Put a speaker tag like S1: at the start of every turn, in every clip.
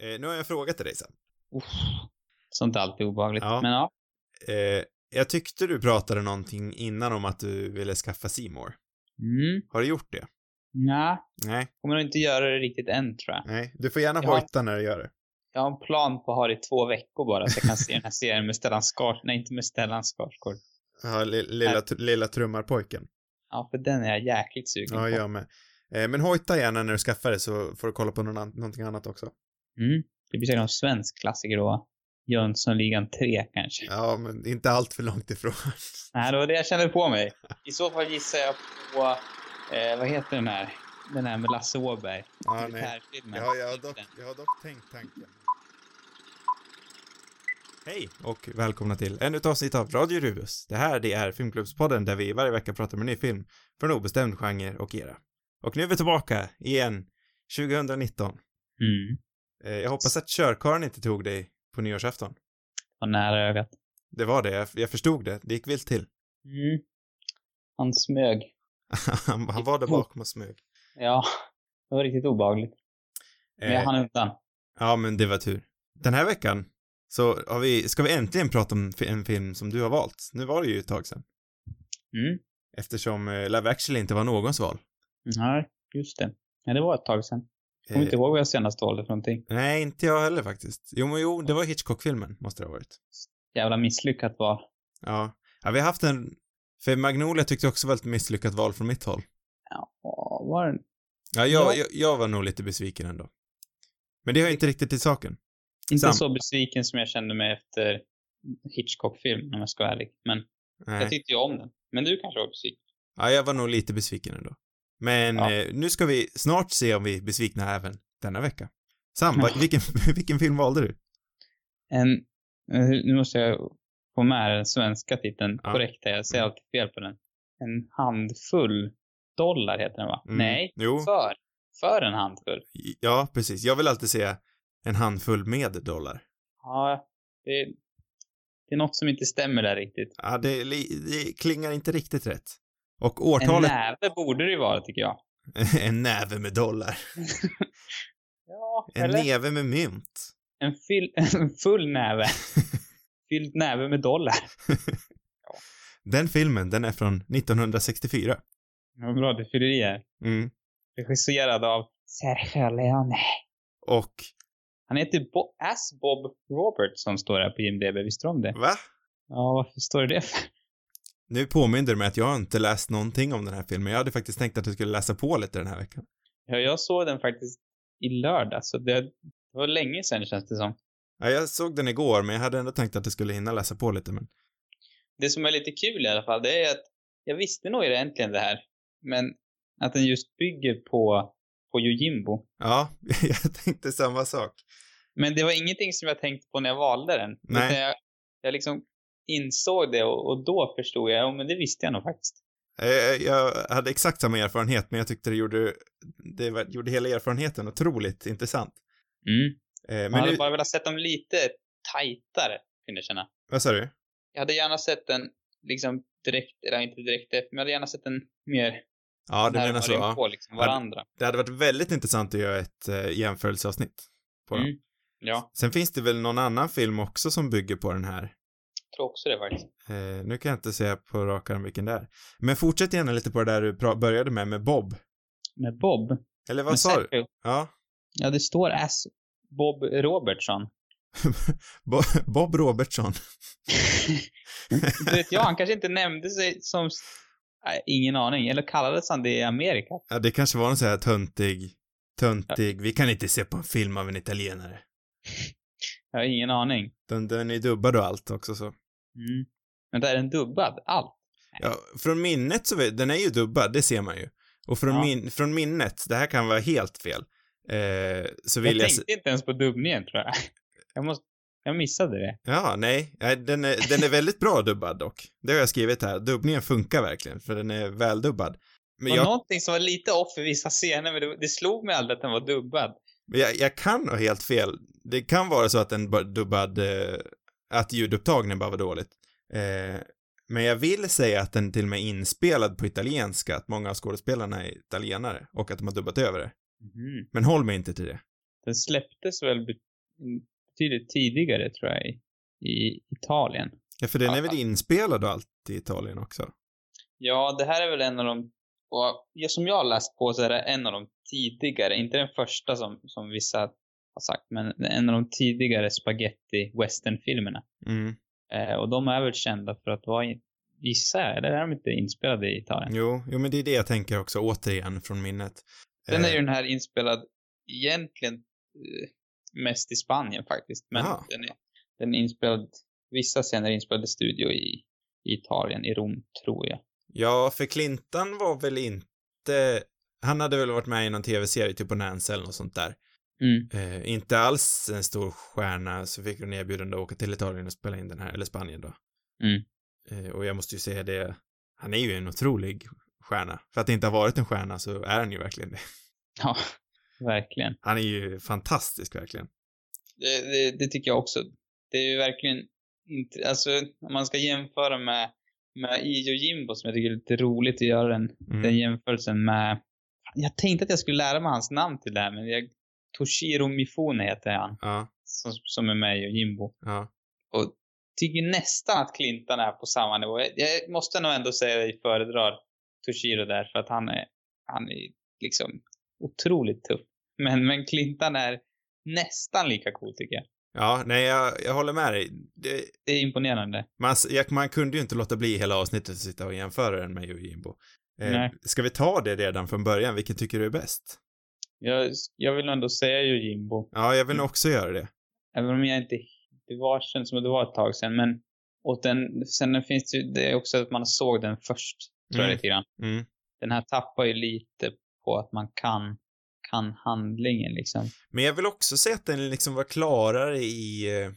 S1: Eh, nu har jag en fråga till dig sen.
S2: Uff, sånt är alltid obehagligt.
S1: Ja.
S2: Men ja,
S1: Eh, jag tyckte du pratade någonting innan om att du ville skaffa Seymour.
S2: mm,
S1: Har du gjort det?
S2: nja,
S1: Nej,
S2: kommer nog inte göra det riktigt än tror jag.
S1: nej. Du får gärna
S2: Ja.
S1: hojta när du gör det.
S2: Jag har en plan på att ha det i två veckor bara så jag kan se den här serien med Stellan Skarsgård. Nej, inte med Stellan Skarsgård.
S1: Ja, li- lilla, tr- lilla trummarpojken.
S2: Ja, för den är jag jäkligt sugen
S1: Ja,
S2: på.
S1: jag med. Eh, men hojta gärna när du skaffar det så får du kolla på någon an- någonting annat också.
S2: Mm. Det blir säkert någon svensk klassiker då. Jönssonligan 3 kanske.
S1: Ja, men inte allt för långt ifrån.
S2: Nej, det var det jag kände på mig. I så fall gissar jag på, eh, vad heter den här? Den här med Lasse Åberg.
S1: Ja, nej.
S2: Militärfilmen.
S1: Jag, jag, har dock, jag har dock tänkt tanken. Hej och välkomna till ännu ett avsnitt av Radio Rubus. Det här det är Filmklubbspodden där vi varje vecka pratar om en ny film från obestämd genre och era. Och nu är vi tillbaka igen, 2019.
S2: Mm.
S1: Eh, jag hoppas att körkaren inte tog dig på nyårsafton.
S2: Och nära ögat.
S1: Det var det, jag, jag förstod det. Det gick vilt till.
S2: Mm. Han smög.
S1: han, han var där bakom och smög.
S2: Ja, det var riktigt obehagligt. Men jag
S1: Eh,
S2: hann undan.
S1: Ja, men det var tur. Den här veckan så har vi, ska vi äntligen prata om fi- en film som du har valt. Nu var det ju ett tag sedan.
S2: Mm.
S1: Eftersom eh, Love actually inte var någons val.
S2: Nej, just det. Ja, det var ett tag sedan. Jag
S1: Eh,
S2: kommer inte ihåg vad jag senast valde för någonting.
S1: Nej, inte jag heller faktiskt. Jo, men jo, det var Hitchcock-filmen, måste det ha varit.
S2: Jävla misslyckat val.
S1: Ja. ja, vi har haft en... För Magnolia tyckte jag också var ett misslyckat val från mitt håll.
S2: Ja, var den?
S1: Ja,
S2: Ja.
S1: jag, jag, jag var nog lite besviken ändå. Men det hör inte riktigt till saken.
S2: Inte
S1: Sam.
S2: så besviken som jag kände mig efter Hitchcock-filmen om jag ska vara ärlig. Men jag
S1: Nej.
S2: tyckte ju om den. Men du kanske var besviken?
S1: Ja, jag var nog lite besviken ändå. Men
S2: Ja.
S1: eh, nu ska vi snart se om vi är besvikna även denna vecka. Sam, vad-
S2: Ja.
S1: vilken, vilken film valde du?
S2: En, eh, nu måste jag få med den svenska titeln
S1: Ja.
S2: korrekt här. Jag säger alltid fel på den. En handfull dollar heter den va?
S1: Mm,
S2: Nej,
S1: Jo,
S2: för. För en handfull.
S1: i- ja, precis. Jag vill alltid säga en handfull med dollar.
S2: Ja, det, det är något som inte stämmer där riktigt.
S1: Ja, det, li- det klingar inte riktigt rätt. Och
S2: En
S1: årtalet...
S2: näve borde det ju vara tycker jag.
S1: en näve med dollar.
S2: Ja,
S1: En
S2: eller?
S1: näve med mynt.
S2: En, fyll, en full näve. Fylld näve med dollar.
S1: Den filmen, den är från 1964.
S2: Vad bra du fyller i här.
S1: Mm.
S2: Regisserad av Sergio Leone.
S1: Och,
S2: Han heter Bo- As Bob Roberts som står här på IMDB. Visste du om det?
S1: va?
S2: Ja, varför står det det för?
S1: Nu påminner det mig att jag har inte läst någonting om den här filmen. Jag hade faktiskt tänkt att jag skulle läsa på lite den här veckan.
S2: Ja, jag såg den faktiskt i lördags, så det, det var länge sedan känns det som.
S1: Ja, jag såg den igår, men jag hade ändå tänkt att jag skulle hinna läsa på lite, men...
S2: Det som är lite kul i alla fall, det är att jag visste nog egentligen det här, men att den just bygger på, på Yojimbo.
S1: Ja, jag tänkte samma sak.
S2: Men det var ingenting som jag tänkte på när jag valde den.
S1: Nej.
S2: Utan Jag, jag liksom insåg det och, och då förstod jag, ja men det visste jag nog faktiskt.
S1: Eh, Jag hade exakt samma erfarenhet, men jag tyckte det gjorde, det var, gjorde hela erfarenheten otroligt intressant.
S2: Mm.
S1: Eh,
S2: Man
S1: Men
S2: hade
S1: nu,
S2: bara velat sett dem lite tajtare, kunde jag känna.
S1: vad sa du?
S2: Jag hade gärna sett den, liksom direkt, eller inte direkt efter, men jag hade gärna sett den mer
S1: Ja, du
S2: närmare
S1: menar så. Ja.
S2: inpå liksom
S1: Ja, det-
S2: varandra.
S1: Det hade varit väldigt intressant att göra ett eh, jämförelseavsnitt på den.
S2: Mm. Ja,
S1: Sen finns det väl någon annan film också som bygger på den här.
S2: jag tror också det faktiskt.
S1: Eh, nu kan jag inte säga på rak arm vilken det är. Men fortsätt gärna lite på det där du pra- började med, med Bob.
S2: Med Bob.
S1: Eller
S2: Med
S1: vad sa du?
S2: Sergio.
S1: Ja.
S2: Ja, det står S. Bob Robertson.
S1: Bo- Bob Robertson.
S2: du vet jag, han kanske inte nämnde sig som... s- Nej, ingen aning. Eller kallades han det i Amerika?
S1: Ja, det kanske var någon sån här töntig, töntig, vi kan inte se på en film av en italienare.
S2: Jag har ingen aning.
S1: Den, den är dubbad och allt också så.
S2: Mm. Men där är den dubbad. Allt.
S1: Ja, från minnet så, vet- den är ju dubbad, det ser man ju. Och från,
S2: Ja.
S1: min, från minnet, det här kan vara helt fel, eh, så vill
S2: Jag
S1: jag...
S2: tänkte inte ens på dubbningen tror jag. Jag, måste, jag missade det.
S1: se- Ja, nej, nej den, är, den är väldigt bra dubbad dock. Det har jag skrivit här, dubbningen funkar verkligen, för den är väldubbad. Men
S2: Det var
S1: jag,
S2: någonting som var lite off i vissa scener, men det, det slog mig aldrig att den var dubbad.
S1: men jag, jag kan ha helt fel. Det kan vara så att den bara dubbad, eh, att ljudupptagningen bara var dåligt. Eh, men jag vill säga att den till och med är inspelad på italienska, att många av skådespelarna är italienare och att de har dubbat över det.
S2: Mhm.
S1: Men håll mig inte till det.
S2: Den släpptes väl bet- mm, betydligt tidigare tror jag i, i Italien.
S1: Ja, för den är väl inspelad och allt i Italien också?
S2: Ja, det här är väl en av de, och ja, som jag har läst på så är det en av de tidigare, inte den första som, som vissa har sagt, men en av de tidigare spaghetti western-filmerna.
S1: Mm.
S2: Eh, och de är väl kända för att vara, i- gissar jag, eller är de inte inspelade i Italien?
S1: Jo, jo, men det är det jag tänker också, återigen från minnet.
S2: Sen är
S1: Eh,
S2: ju den här inspelad egentligen eh, mest i Spanien faktiskt, men
S1: Aha.
S2: den är, den är inspelad, vissa scener är inspelade i studio i, i Italien, i Rom tror jag.
S1: Ja, för Clintan var väl inte... Han hade väl varit med i någon tv-serie, typ på Nance eller något sånt där.
S2: Mm.
S1: Eh, inte alls en stor stjärna, så fick hon erbjudande att åka till Italien och spela in den här, eller Spanien då.
S2: Mm.
S1: Eh, och jag måste ju säga det, han är ju en otrolig stjärna. För att det inte har varit en stjärna så är han ju verkligen det.
S2: Ja, verkligen.
S1: Han är ju fantastisk verkligen.
S2: Det, det, det tycker jag också. Det är ju verkligen inte, alltså om man ska jämföra med, med Ijo Jimbo som jag tycker är lite roligt att göra den,
S1: Mm.
S2: den jämförelsen med, jag tänkte att jag skulle lära mig hans namn till det här men jag, Toshiro Mifune heter han,
S1: Ja,
S2: som, som är med i Ijo Jimbo.
S1: ja.
S2: Tycker nästan att Clintan är på samma nivå. Jag, jag måste nog ändå säga att jag föredrar Toshiro där för att han är, han är liksom otroligt tuff. Men, men Clintan är nästan lika cool tycker jag.
S1: Ja, nej, jag, jag håller med dig. Det,
S2: Det är imponerande.
S1: man, s- jag- man kunde ju inte låta bli hela avsnittet att sitta och jämföra den med Yojimbo. Eh,
S2: Nej.
S1: ska vi ta det redan från början? Vilken tycker du är bäst?
S2: Jag, jag vill ändå säga ju Jimbo.
S1: Ja, jag vill nog också göra det.
S2: Även om jag inte... Det var, känns som att det var ett tag sedan, men... Och den, sen finns det ju det är också att man såg den först, tror
S1: Mm.
S2: jag lite grann.
S1: Mm.
S2: Den här tappar ju lite på att man kan, kan handlingen liksom.
S1: Men jag vill också se att den liksom var klarare i, eh,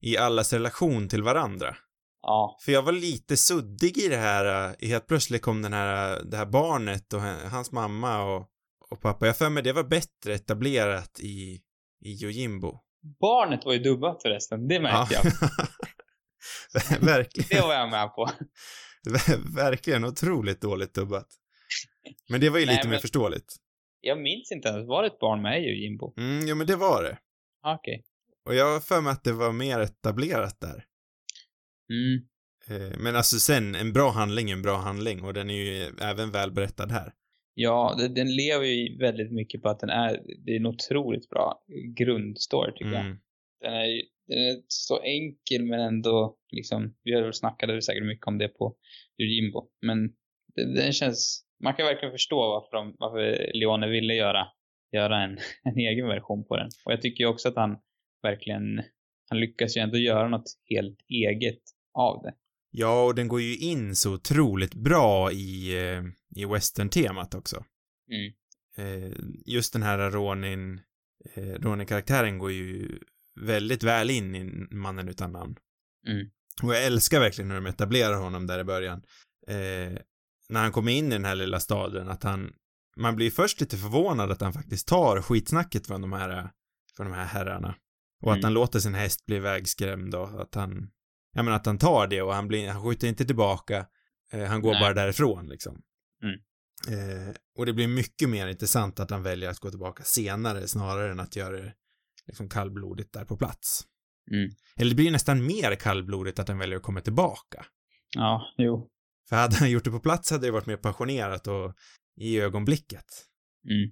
S1: i allas relation till varandra.
S2: Ja.
S1: För jag var lite suddig i det här, eh, helt plötsligt kom den här, eh, det här barnet och h- hans mamma och, och pappa. Jag har för mig det var bättre etablerat i, i Yojimbo.
S2: Barnet var ju dubbat förresten, det märkte jag.
S1: Ver- Verkligen.
S2: Det var jag med på.
S1: Ver- Verkligen otroligt dåligt dubbat. Men det var ju
S2: Nej,
S1: lite mer
S2: men-
S1: förståeligt.
S2: Jag minns inte ens, var det ett barn med i Jimbo? Ah,
S1: Mm, jo men det var det.
S2: Okej.
S1: Och jag har för mig att det var mer etablerat där.
S2: Mm.
S1: Eh, Men alltså sen, en bra handling är en bra handling och den är ju även väl berättad här.
S2: Ja, det- den lever ju väldigt mycket på att den är, det är en otroligt bra grundstory tycker jag.
S1: Mm.
S2: den är, ju- den är så enkel men ändå liksom, vi har väl snackat säkert mycket om det på Jimbo. Men den, den känns, man kan verkligen förstå varför, de, varför Leone ville göra, göra en, en egen version på den. Och jag tycker ju också att han verkligen, han lyckas ju ändå göra något helt eget av det.
S1: Ja, och den går ju in så otroligt bra i, eh, i western-temat också.
S2: Mm.
S1: Eh, Just den här Ronin, eh, Ronin-karaktären går ju väldigt väl in i Mannen utan namn.
S2: Mm.
S1: Och jag älskar verkligen hur de etablerar honom där i början. Eh, när han kommer in i den här lilla staden, att han, man blir först lite förvånad att han faktiskt tar skitsnacket från de här, från de här herrarna. Och att
S2: Mm.
S1: han låter sin häst bli vägskrämd och att han, ja men att han tar det och han blir, han skjuter inte tillbaka, eh, han går
S2: Nej.
S1: bara därifrån liksom.
S2: Mm.
S1: Eh, och det blir mycket mer intressant att han väljer att gå tillbaka senare snarare än att göra det liksom kallblodigt där på plats.
S2: Mm.
S1: Eller det blir ju nästan mer kallblodigt att han väljer att komma tillbaka.
S2: Ja, jo.
S1: För hade han gjort det på plats hade det varit mer passionerat och i ögonblicket.
S2: Mm.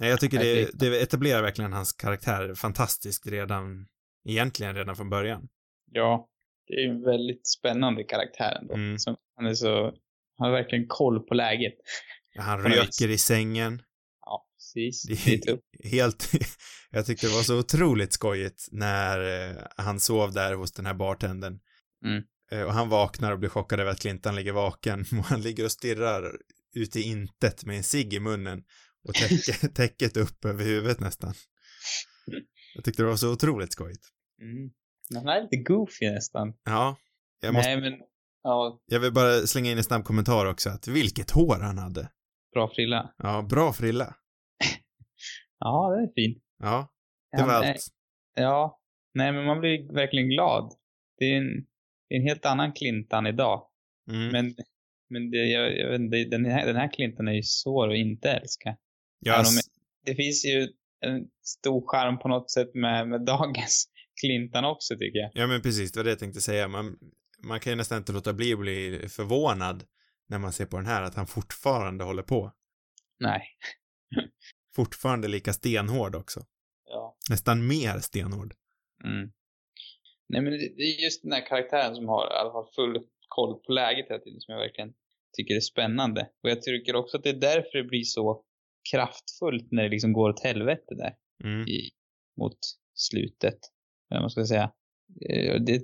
S1: Nej, jag tycker
S2: Nej,
S1: det,
S2: precis.
S1: det etablerar verkligen hans karaktär fantastiskt redan, egentligen redan från början.
S2: Ja, det är ju en väldigt spännande karaktär ändå.
S1: Mm.
S2: Som, han är så, han har verkligen koll på läget.
S1: Han
S2: På något
S1: röker i sängen.
S2: Ja, precis.
S1: Det är-
S2: Det är typ- tufft.
S1: helt, jag tyckte det var så otroligt skojigt när eh, han sov där hos den här bartendern.
S2: Mm.
S1: Eh, och han vaknar och blir chockad över att Clintan ligger vaken och han ligger och stirrar ut i intet med en cigg i munnen och täcke, täcket upp över huvudet nästan. Jag tyckte det var så otroligt skojigt.
S2: Mm. Han är lite goofy nästan.
S1: Ja, jag, måste,
S2: Nej men, ja,
S1: jag vill bara slänga in en snabb kommentar också att vilket hår han hade.
S2: bra frilla.
S1: Ja, bra frilla.
S2: Ja, det är fint.
S1: Ja, det var allt.
S2: Ja, nej men man blir verkligen glad. Det är en, det är en helt annan Clintan idag.
S1: Mm.
S2: Men, men det, jag, jag vet inte, den här, den här Clintan är ju svår att inte älska.
S1: ja,
S2: Ja, de-
S1: ass-
S2: Det finns ju en stor charm på något sätt med, med dagens Clintan också tycker jag.
S1: Ja, men precis, det var det jag tänkte säga. Man, man kan ju nästan inte låta bli att bli förvånad när man ser på den här, att han fortfarande håller på.
S2: Nej.
S1: Fortfarande lika stenhård också.
S2: Ja.
S1: Nästan mer stenhård.
S2: Mm. Nej men det det är just den här karaktären som har i alla fall full koll på läget hela tiden som jag verkligen tycker är spännande. Och jag tycker också att det är därför det blir så kraftfullt när det liksom går åt helvete där.
S1: Mm.
S2: i, mot slutet. Eller vad man ska säga. Eh, och Det,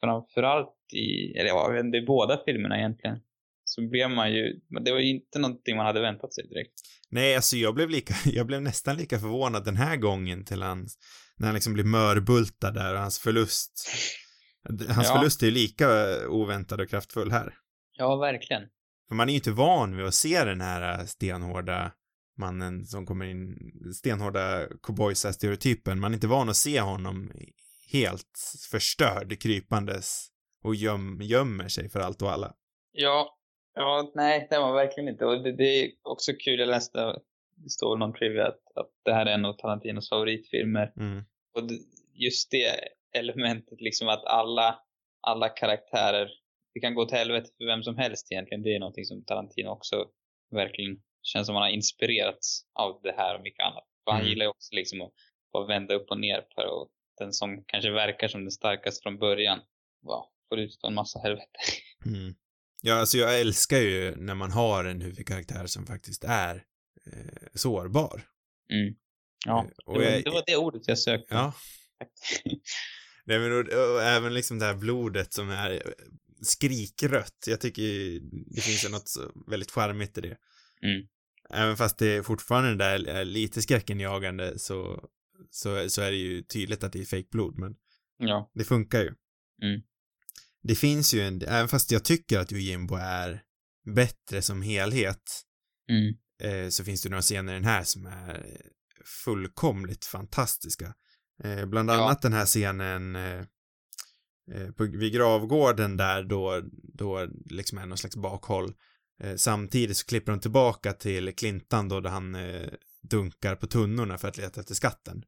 S2: framförallt i, eller ja, jag vet inte, i båda filmerna egentligen. Så blev man ju, men det var ju inte någonting man hade väntat sig direkt.
S1: Nej, alltså jag blev lika, jag blev nästan lika förvånad den här gången till hans, när han liksom blir mörbultad där och hans förlust. Hans
S2: Ja.
S1: förlust är ju lika eh, oväntad och kraftfull här.
S2: Ja, verkligen.
S1: För man är ju inte van vid att se den här eh, stenhårda mannen som kommer in, stenhårda cowboysa-stereotypen. Man är inte van att se honom helt förstörd krypandes och göm, gömmer sig för allt och alla.
S2: Ja, ja nej, det var verkligen inte. Och det, det är också kul, jag läste, det står väl någon trivia att, att det här är en av Tarantinos favoritfilmer.
S1: Mm.
S2: Och det- just det elementet liksom att alla, alla karaktärer, det kan gå till helvete för vem som helst egentligen. Det är någonting som Tarantino också verkligen känns som han har inspirerats av det här och mycket annat. För han
S1: Mm.
S2: gillar ju också liksom att, att vända upp och ner på det och den som kanske verkar som den starkaste från början, wow, får utstå en massa helvete.
S1: Mm. Ja, alltså jag älskar ju när man har en huvudkaraktär som faktiskt är eh, sårbar.
S2: Ja,
S1: Eh,
S2: det
S1: och
S2: var,
S1: jag,
S2: det var det ordet jag sökte.
S1: Ja. Nej, men och, och även liksom det här blodet som är eh, skrikrött. Jag tycker ju det finns ju något så väldigt charmigt i det.
S2: Mm.
S1: Även fast det är fortfarande det där är lite skräckenjagande så, så, så är det ju tydligt att det är fejkblod, men
S2: ja.
S1: det funkar ju.
S2: Mm.
S1: Det finns ju en, även fast jag tycker att Yojimbo är bättre som helhet,
S2: Mm.
S1: eh, så finns det några scener i den här som är eh, fullkomligt fantastiska. Eh, bland
S2: Ja.
S1: annat den här scenen eh, eh, på, vid gravgården där då, då liksom är någon slags bakhåll. Eh, samtidigt så klipper de tillbaka till Klintan då där han eh, dunkar på tunnorna för att leta efter skatten.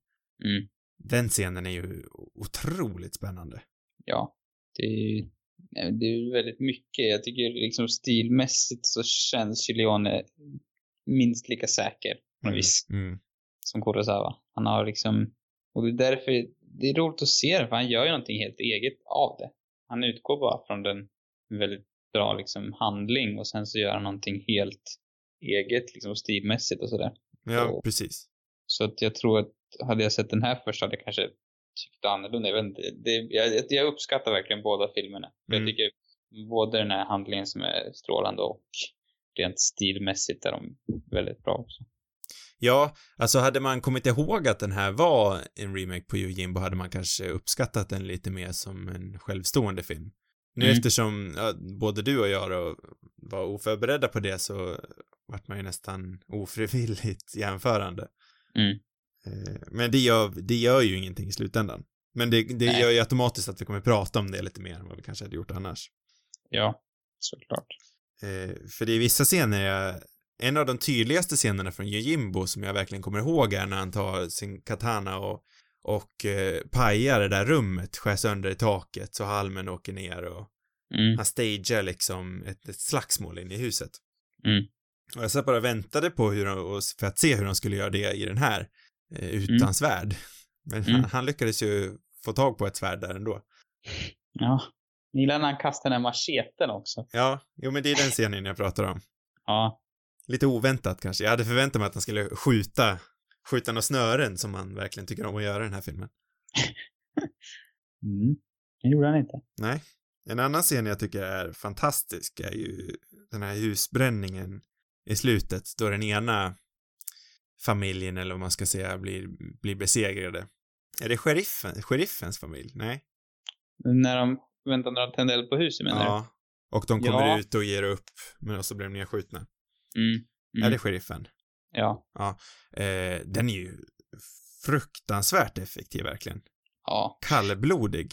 S2: Mm.
S1: Den scenen är ju otroligt spännande.
S2: ja, det är ju nej, men det är ju väldigt mycket. Jag tycker liksom stilmässigt så känns Chileone minst lika säker på något vis
S1: Mm.
S2: som Kurosawa. Han har liksom, och det är därför det är roligt att se det, för han gör ju någonting helt eget av det. Han utgår bara från den väldigt bra liksom handling och sen så gör han någonting helt eget liksom stilmässigt och sådär.
S1: Ja,
S2: Och-
S1: precis.
S2: Så att jag tror att hade jag sett den här först hade jag kanske tyckt annorlunda. Jag, vet inte, det, jag, jag- jag uppskattar verkligen båda filmerna. För
S1: Mm.
S2: Jag tycker både den här handlingen som är strålande och rent stilmässigt är de väldigt bra också.
S1: Ja, alltså hade man kommit ihåg att den här var en remake på Yojimbo hade man kanske uppskattat den lite mer som en självstående film. Nu
S2: Mm.
S1: eftersom ja, både du och jag då var oförberedda på det så vart man ju nästan ofrivilligt jämförande.
S2: Mm.
S1: Eh, Men det gör, det gör ju ingenting i slutändan. Men det, det
S2: Nej.
S1: gör ju automatiskt att vi kommer prata om det lite mer än vad vi kanske hade gjort annars.
S2: Ja, såklart.
S1: Eh, för det är vissa scener jag, en av de tydligaste scenerna från Yojimbo som jag verkligen kommer ihåg är när han tar sin katana och, och eh, pajar det där rummet, skär sönder i taket så halmen åker ner och
S2: Mm.
S1: han stagear liksom ett, ett slagsmål inne i huset.
S2: Mm.
S1: Och jag satt bara och väntade på hur de, och s- för att se hur de skulle göra det i den här eh, utan
S2: Mm.
S1: svärd. Men
S2: Mm.
S1: han, han lyckades ju få tag på ett svärd där ändå.
S2: Ja. Jag gillar när han kastar den här macheten också.
S1: Ja, jo men det är den scenen jag pratar om.
S2: Ja.
S1: lite oväntat kanske. Jag hade förväntat mig att han skulle skjuta, skjuta några snören som han verkligen tycker om att göra i den här filmen.
S2: Mm. Det gjorde han inte.
S1: Nej. En annan scen jag tycker är fantastisk är ju den här husbränningen i slutet då den ena familjen eller vad man ska säga blir, blir besegrade. Är det sheriffen, sheriffens familj? Nej?
S2: När de, vänta, när de tände eld på huset menar
S1: Ja. Och de kommer
S2: Ja.
S1: ut och ger upp, men så blir de nedskjutna.
S2: du? Mm.
S1: Är
S2: Mm.
S1: det sheriffen?
S2: Ja.
S1: Eh, den är ju fruktansvärt effektiv verkligen.
S2: Ja.
S1: Kallblodig.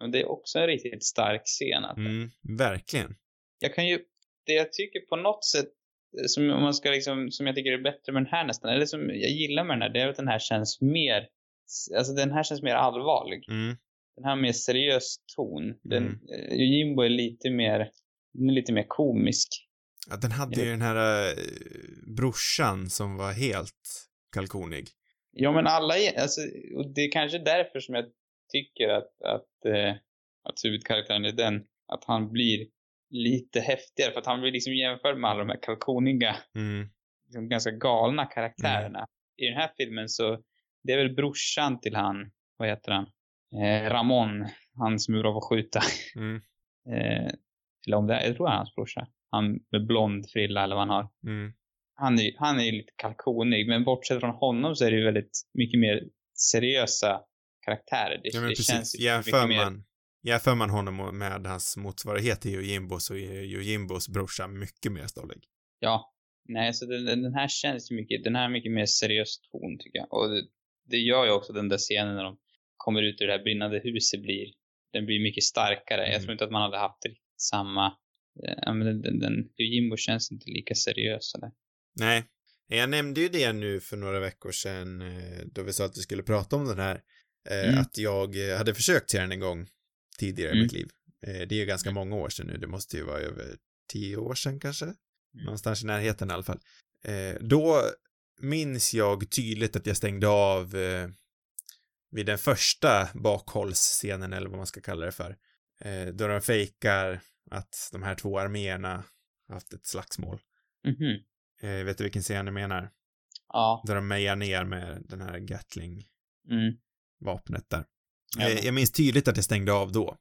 S2: Men det är också en riktigt stark scen att
S1: Mm, verkligen.
S2: jag kan ju, det jag tycker på något sätt eh, som, om man ska liksom, som jag tycker är bättre med den här nästan, eller som jag gillar med den här, det är att den här känns mer, alltså den här känns mer allvarlig.
S1: Mm.
S2: Den här har mer seriös ton. Den,
S1: Mm.
S2: eh, Jimbo är lite mer, den är lite mer komisk.
S1: Ja, den hade ju den här eh, brorsan som var helt kalkonig.
S2: Ja men alla, är- alltså, och det är kanske därför som jag tycker att, att, eh, att huvudkaraktären är den, att han blir lite häftigare, för att han blir liksom jämförd med alla de här kalkoniga
S1: Mm.
S2: liksom ganska galna karaktärerna. I den här filmen så, det är väl brorsan till han, vad heter han? Eh, Ramon, han som är bra på att skjuta.
S1: Mm.
S2: Eh, eller om det är, jag tror det är hans brorsa. Han med blond frilla eller vad han har.
S1: Mm.
S2: Han är ju han är ju lite kalkonig, men bortsett från honom så är det ju väldigt mycket mer seriösa karaktärer. Det,
S1: Ja, men
S2: det känns
S1: precis.
S2: ju
S1: Jämför
S2: mycket mer-
S1: man, jämför man honom med hans motsvarighet i Yojimbo så är Yojimbos brorsa mycket mer stollig.
S2: Ja. Nej, så den, den den här känns ju mycket, den här har mycket mer seriös ton tycker jag. Och det, det gör ju också den där scenen när de kommer ut ur det här brinnande huset blir, den blir mycket starkare.
S1: Mm.
S2: Jag tror inte att man hade haft riktigt samma, eh, ja men den, den, den Jimbo känns inte lika seriös eller.
S1: Nej. Jag nämnde ju det nu för några veckor sedan eh, då vi sa att vi skulle prata om den här. eh,
S2: Mm.
S1: Att jag eh, hade försökt se den en gång tidigare i
S2: Mm.
S1: mitt liv. Eh, Det är ju ganska många år sedan nu, det måste ju vara över tio år sedan kanske.
S2: Mm.
S1: Någonstans i närheten i alla fall. Eh, Då minns jag tydligt att jag stängde av eh, vid den första bakhållsscenen eller vad man ska kalla det för. Eh, Då de fejkar att de här två arméerna haft ett slagsmål.
S2: Mhm.
S1: Eh, Vet du vilken scen jag menar?
S2: Ja.
S1: Där de mejar ner med den här Gatling-vapnet
S2: Mm.
S1: där.
S2: Ja.
S1: Eh, Jag minns tydligt att jag stängde av då.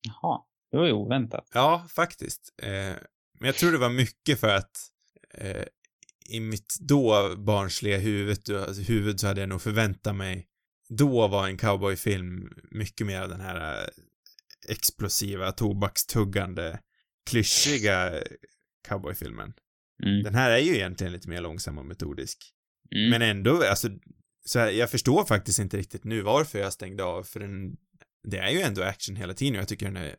S2: Jaha. Det var ju oväntat.
S1: Ja, faktiskt. Eh, Men jag tror det var mycket för att eh, i mitt då barnsliga huvud, alltså huvud så hade jag nog förväntat mig, då var en cowboyfilm mycket mer av den här eh, explosiva, tobakstuggande, klyschiga eh, cowboyfilmen.
S2: Mm.
S1: Den här är ju egentligen lite mer långsam och metodisk.
S2: Mm.
S1: Men ändå, alltså, så här, jag förstår faktiskt inte riktigt nu varför jag stängde av, för den, det är ju ändå action hela tiden och jag tycker den är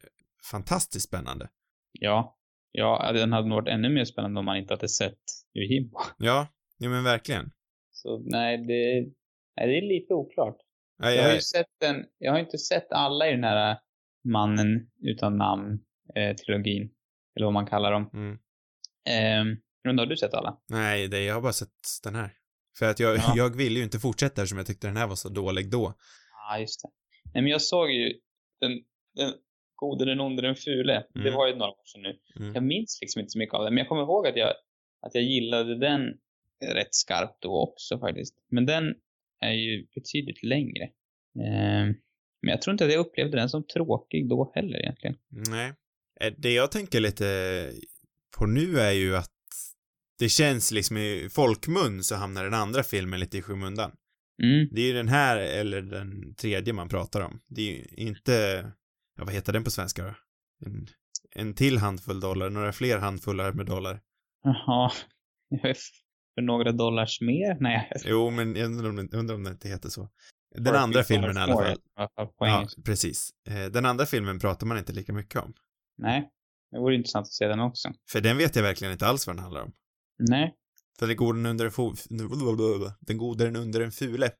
S1: fantastiskt spännande.
S2: Ja. Ja, den hade nog varit ännu mer spännande om man inte hade sett Jimbo.
S1: Ja, ja men verkligen.
S2: Så nej, det, nej, det är lite oklart.
S1: Ja,
S2: Jag har
S1: jag,
S2: ju sett den, jag har inte sett alla i den här eh, Mannen utan namn eh, trilogin. Eller vad man kallar dem.
S1: mm,
S2: Ehm, men har du sett alla?
S1: nej, det, jag har bara sett den här. För att jag,
S2: Ja.
S1: jag ville ju inte fortsätta eftersom jag tyckte den här var så dålig då.
S2: Ja, ah, just det. Nej, men jag såg ju den, den gode, den onde, den fule. Det
S1: Mm.
S2: var ju några år sedan nu.
S1: Mm.
S2: Jag minns liksom inte så mycket av den, men jag kommer ihåg att jag, att jag gillade den rätt skarpt då också faktiskt. Men den är ju betydligt längre. Ehm, men jag tror inte att jag upplevde den som tråkig då heller egentligen.
S1: Nej. Eh, Det jag tänker lite på nu är ju att det känns liksom i folkmun så hamnar den andra filmen lite i skymundan.
S2: Mm.
S1: Det är ju den här eller den tredje man pratar om. Det är ju inte, ja vad heter den på svenska då? En, en till handfull dollar, några fler handfullar med dollar.
S2: Jaha. Jag är f- För några dollars mer? Nej. jag-
S1: Jo, men jag undrar om, den- undrar om det inte heter så. Den
S2: Or a
S1: andra
S2: few
S1: filmen i
S2: dollars
S1: alla
S2: more,
S1: fall.
S2: På ja.
S1: Ja, precis. Eh, Den andra filmen pratar man inte lika mycket om.
S2: Nej. Det vore intressant att se den också.
S1: För den vet jag verkligen inte alls vad den handlar om.
S2: Nej.
S1: För den gode den under en fo- den gode den under en fule.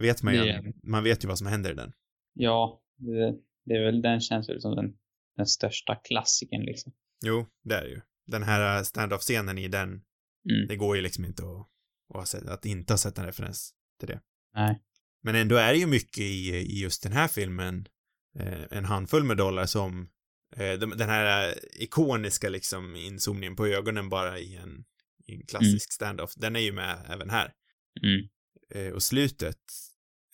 S1: Vet man ju.
S2: Det-
S1: Man vet ju vad som händer i den.
S2: Ja. Det, det är väl den känns väl som den, den största klassikern liksom.
S1: Jo, det är det ju. Den här eh, stand-off-scenen i den
S2: Mm.
S1: Det går ju liksom inte att, att, ha sett, att inte ha sett en referens till det.
S2: Nej.
S1: Men ändå är det ju mycket i, i just den här filmen, eh, en handfull med dollar som eh, de, den här eh, ikoniska liksom inzoomningen på ögonen bara i en, i en klassisk
S2: Mm.
S1: standoff, den är ju med även här.
S2: Mm.
S1: Eh, och slutet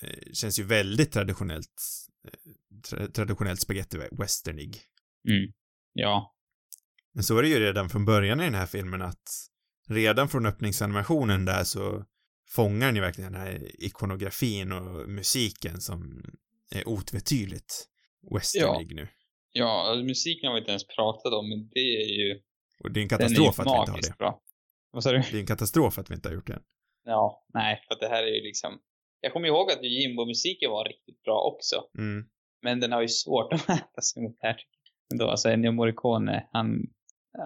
S1: eh, känns ju väldigt traditionellt, eh, tra- traditionellt spaghetti westernig.
S2: Ja.
S1: Men så är det ju redan från början i den här filmen att redan från öppningsanimationen där så fångar den ju verkligen den här ikonografin och musiken som är otvetydigt westernig nu.
S2: Ja, alltså, musiken har vi inte ens pratat om, men det är ju...
S1: Och det är en
S2: Den är
S1: katastrof
S2: ju
S1: att vi inte har
S2: magiskt
S1: det.
S2: bra. Vad sa du?
S1: Det är en katastrof att vi inte har gjort det.
S2: Ja. Nej, för att det här är ju liksom... Jag kommer ihåg att Jimbo-musiken var riktigt bra också.
S1: Mm.
S2: Men den har ju svårt att mäta sig mot det här. tycker jag. Ändå, alltså Ennio Morricone, han...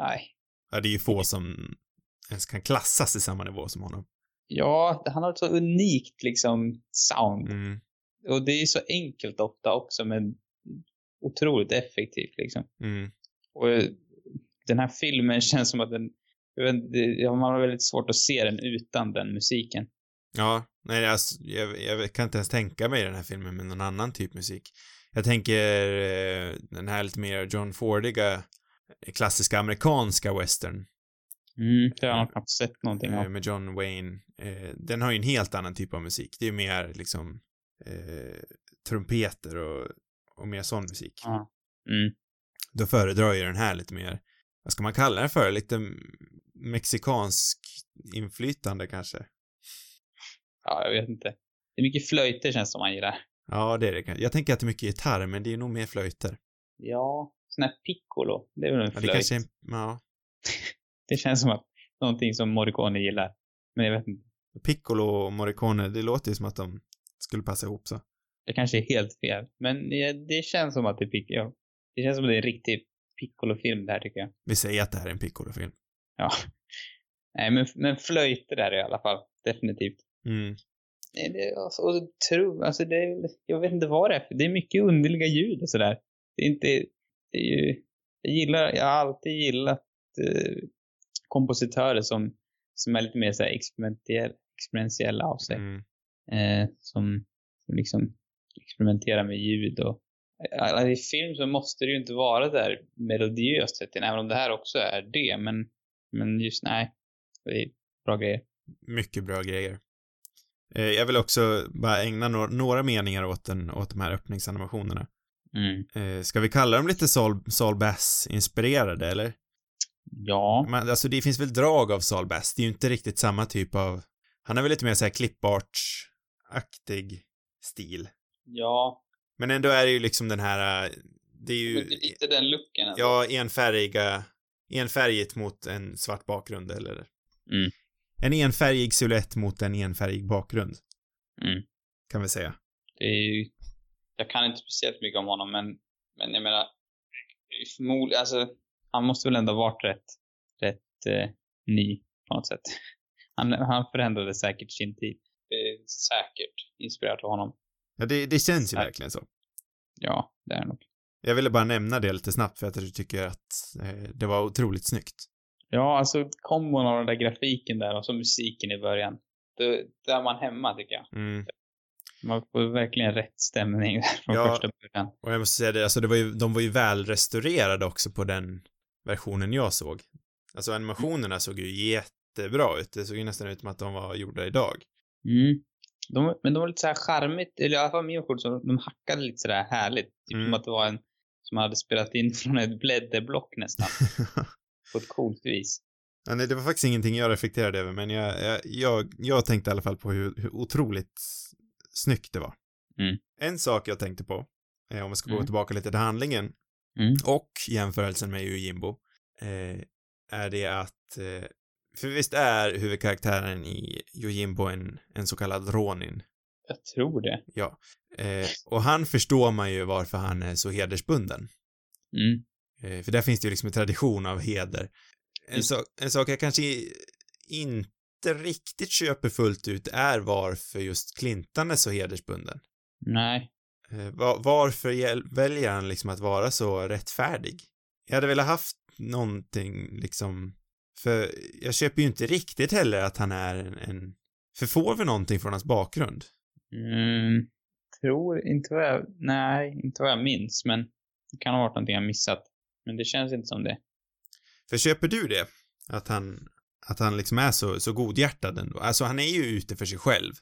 S2: Nej.
S1: Ja, det är ju få som ens kan klassas i samma nivå som honom.
S2: Ja, han har ett så unikt liksom sound.
S1: Mm,
S2: Och det är så enkelt ofta också, men otroligt effektivt liksom.
S1: mm,
S2: Och eh, den här filmen känns som att den, jag vet, inte, ja, man har väldigt svårt att se den utan den musiken.
S1: ja, nej, jag, jag, jag kan inte ens tänka mig den här filmen med någon annan typ musik. Jag tänker eh, den här lite mer John Fordiga eh, klassiska amerikanska western
S2: Mm, det har man knappt sett någonting
S1: eh,
S2: av.
S1: med John Wayne. Eh, den har ju en helt annan typ av musik. Det är ju mer liksom eh, trumpeter och, och mer sån musik.
S2: Ja. Mm.
S1: Då föredrar ju den här lite mer, vad ska man kalla den för, lite m- mexikansk inflytande kanske?
S2: Ja, jag vet inte. Det är mycket flöjter känns som man gillar.
S1: Ja, det är det kanske. Jag tänker att det är mycket gitarr, men det är nog mer flöjter.
S2: Ja, sån här piccolo. Det är väl en
S1: Ja,
S2: flöjt.
S1: det kanske är, ja.
S2: det känns som att någonting som Morricone gillar. Men jag vet inte.
S1: Piccolo och Morricone, det låter ju som att de skulle passa ihop så.
S2: Det kanske är helt fel. Men eh, det känns som att det, pic- ja. det känns som att det är en riktig piccolofilm det här tycker jag.
S1: Vi säger att det här är en Piccolo-film.
S2: Ja. Nej, men, men flöjter där i alla fall. Definitivt.
S1: Mm.
S2: Nej, det, alltså, och trum, alltså det, jag vet inte vad det är. för Det är mycket underliga ljud och sådär. Det är inte, det är ju, jag gillar, jag har alltid gillat eh, kompositörer som, som är lite mer så här experimentell, experimentella av sig.
S1: Mm.
S2: Eh, som, som liksom experimenterar med ljud och alltså, i film så måste det ju inte vara där melodiöst sett in, även om det här också är det. Men, men just nej, det är bra grejer.
S1: Mycket bra grejer. Eh, jag vill också bara ägna no- några meningar åt, den, åt de här öppningsanimationerna.
S2: Mm.
S1: Eh, ska vi kalla dem lite Saul, Saul Bass-inspirerade, eller?
S2: Ja.
S1: Men alltså det finns väl drag av Saul Bass, det är ju inte riktigt samma typ av, han är väl lite mer såhär klippartsaktig stil.
S2: Ja,
S1: Men ändå är det ju liksom den här, eh, det är ju,
S2: Men det är lite den looken. alltså.
S1: ja, enfärgiga, enfärgigt mot en svart bakgrund eller
S2: Mm.
S1: en enfärgig silhuett mot en enfärgig bakgrund.
S2: Mm.
S1: Kan vi säga.
S2: Det är ju, jag kan inte speciellt mycket om honom, men, men jag menar, förmodligen, alltså, han måste väl ändå ha varit rätt, rätt eh, ny på något sätt. Han, han förändrade säkert sin tid. Det är säkert inspirerat av honom.
S1: Ja, det, det känns ju
S2: Ja.
S1: verkligen så.
S2: Ja, det är det nog.
S1: Jag ville bara nämna det lite snabbt för att jag tycker att eh, det var otroligt snyggt.
S2: Ja, alltså kombon av den där grafiken där och så musiken i början. Då, där är man hemma tycker jag.
S1: Mm.
S2: Man får verkligen rätt stämning där från
S1: Ja.
S2: första början.
S1: Och jag måste säga det, alltså det var ju, de var ju välrestaurerade också på den versionen jag såg. Alltså animationerna såg ju jättebra ut, det såg ju nästan ut som att de var gjorda idag.
S2: Mm. De, men de var lite så här charmigt, eller i alla fall min version, så de hackade lite sådär härligt. Typ
S1: Mm.
S2: som att det var en som hade spelat in från ett blädderblock nästan. på ett coolt vis.
S1: ja, nej, det var faktiskt ingenting jag reflekterade över, men jag, jag, jag, jag tänkte i alla fall på hur, hur otroligt snyggt det var.
S2: Mm.
S1: En sak jag tänkte på, eh, om vi ska gå
S2: Mm.
S1: tillbaka lite till handlingen,
S2: Mm.
S1: och jämförelsen med Jimbo, eh, är det att, eh, för visst är huvudkaraktären i Jimbo en, en så kallad Ronin?
S2: Jag tror det.
S1: Eh, och han förstår man ju varför han är så hedersbunden.
S2: Mm.
S1: Eh, för där finns det ju liksom en tradition av heder. En,
S2: Just-
S1: sak- en sak jag kanske i- inte riktigt köper fullt ut är varför just Clintan är så hedersbunden.
S2: Nej.
S1: Eh, va- varför gäl- väljer han liksom att vara så rättfärdig? Jag hade velat haft någonting liksom, för jag köper ju inte riktigt heller att han är en, en för får vi någonting från hans bakgrund?
S2: Mm. Tror inte vad jag, nej, inte vad jag minns, men det kan ha varit någonting jag missat. Men det känns inte som det.
S1: För köper du det? Att han, att han liksom är så, så godhjärtad ändå. Alltså han är ju ute för sig själv.